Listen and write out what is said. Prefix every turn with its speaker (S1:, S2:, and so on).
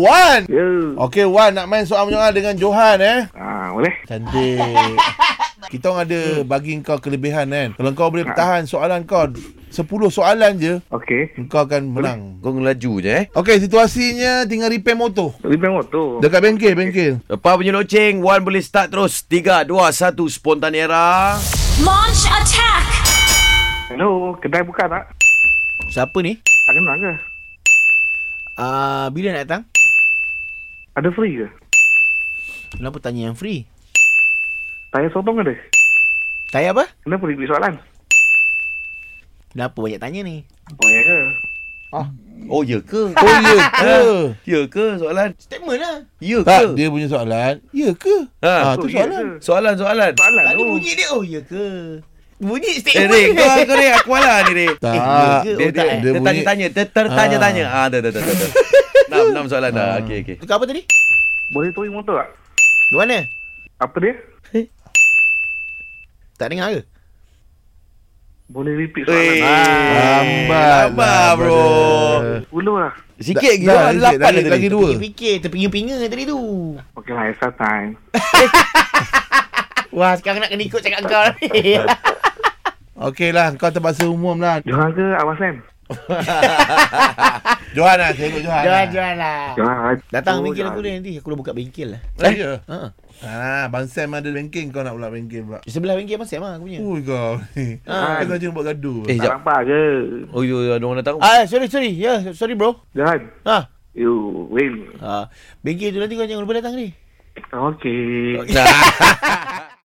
S1: Wan
S2: Ya.
S1: Okey Wan nak main soal menyoal dengan Johan eh
S2: Ah, boleh.
S1: Cantik Kita orang ada bagi kau kelebihan kan Kalau kau boleh tahan soalan kau 10 soalan je
S2: Okey.
S1: Kau akan menang
S3: Kau ngelaju je eh.
S1: Okey situasinya tinggal repair motor
S2: Lebih motor.
S1: Dekat bengkel bengkel
S3: Lepas punya loceng, Wan boleh start terus. 3, 2, 1, spontan era.
S4: Launch attack!
S2: Hello, kedai buka tak?
S5: Siapa ni?
S2: Tak kenal ke?
S5: Ah, uh, bila nak datang?
S2: Ada free ke?
S5: Kenapa tanya yang free?
S2: Tayar sotong ada?
S5: Tayar apa?
S2: Kenapa ribut soalan?
S5: Kenapa banyak tanya ni?
S2: Oh, ya ke?
S3: Oh, ya ke?
S1: Oh ya ke
S3: Ya ke soalan?
S5: Statement lah.
S3: Ya ke?
S1: Tak dia punya soalan Ya ke
S3: Ha.
S1: ha, tu
S2: Oh, ya
S1: soalan
S2: ke?
S3: Soalan, soalan.
S2: Soalan
S5: Tadi
S2: tu.
S5: bunyi dia, oh ya ke? Bunyi
S3: Eh,
S5: statement.
S3: Rik, kau, kau Rik, aku malah ni, Rik.
S1: Tak
S5: Eh, ya ke?
S3: Dia,
S5: Oh, tak,
S3: dia, dia,
S5: eh?
S1: Dia bunyi-
S3: tanya-tanya. Dia tertanya-tanya. Ah, dah, dah, dah, dah. dah. Enam, enam soalan dah. Okey, okey.
S5: Tukar apa tadi?
S2: Boleh towing motor tak?
S5: Ke mana?
S2: Apa dia?
S5: Tak dengar ke?
S2: Boleh repeat
S3: Eh,
S2: soalan. Ah,
S1: Lambat
S3: Lambat,
S1: lah,
S3: bro.
S1: brother.
S2: Puluh lah.
S3: Sikit
S1: Dah,
S3: gila.
S1: dah, sikit.
S3: Lapan
S1: Lagi-
S3: dah
S1: lagi
S3: tadi.
S1: dua
S5: Fikir, terpinga-pinga tadi tu.
S2: Okey lah, extra time.
S5: Wah, sekarang nak kena ikut cakap kau ni.
S1: Okey lah kau terpaksa umum lah
S2: Johan ke Abang Sam?
S1: Johan lah saya ikut Johan lah.
S5: Jual-jual lah.
S2: Johan.
S5: Datang
S2: Oh,
S5: bengkel aku
S2: Johan.
S5: ni nanti. Aku dah buka bengkel lah.
S1: Eh? Ya.
S5: Ha.
S1: Ah, Bang Sam ada bengkel kau nak pula bengkel pula.
S5: Sebelah bengkel Abang Sam lah aku punya.
S1: Ui kau ni.
S5: Ah.
S1: Kau jangan buat gaduh.
S3: Eh,
S2: Tak
S3: jap.
S2: nampak ke?
S3: Oh, yo, yo, ada orang datang.
S5: Ah, sorry, sorry. Ya, yeah, sorry bro.
S2: Johan.
S5: Ha.
S2: You win.
S5: Ha. Bengkel tu nanti kau jangan lupa datang ni.
S2: Okey.
S3: Nah.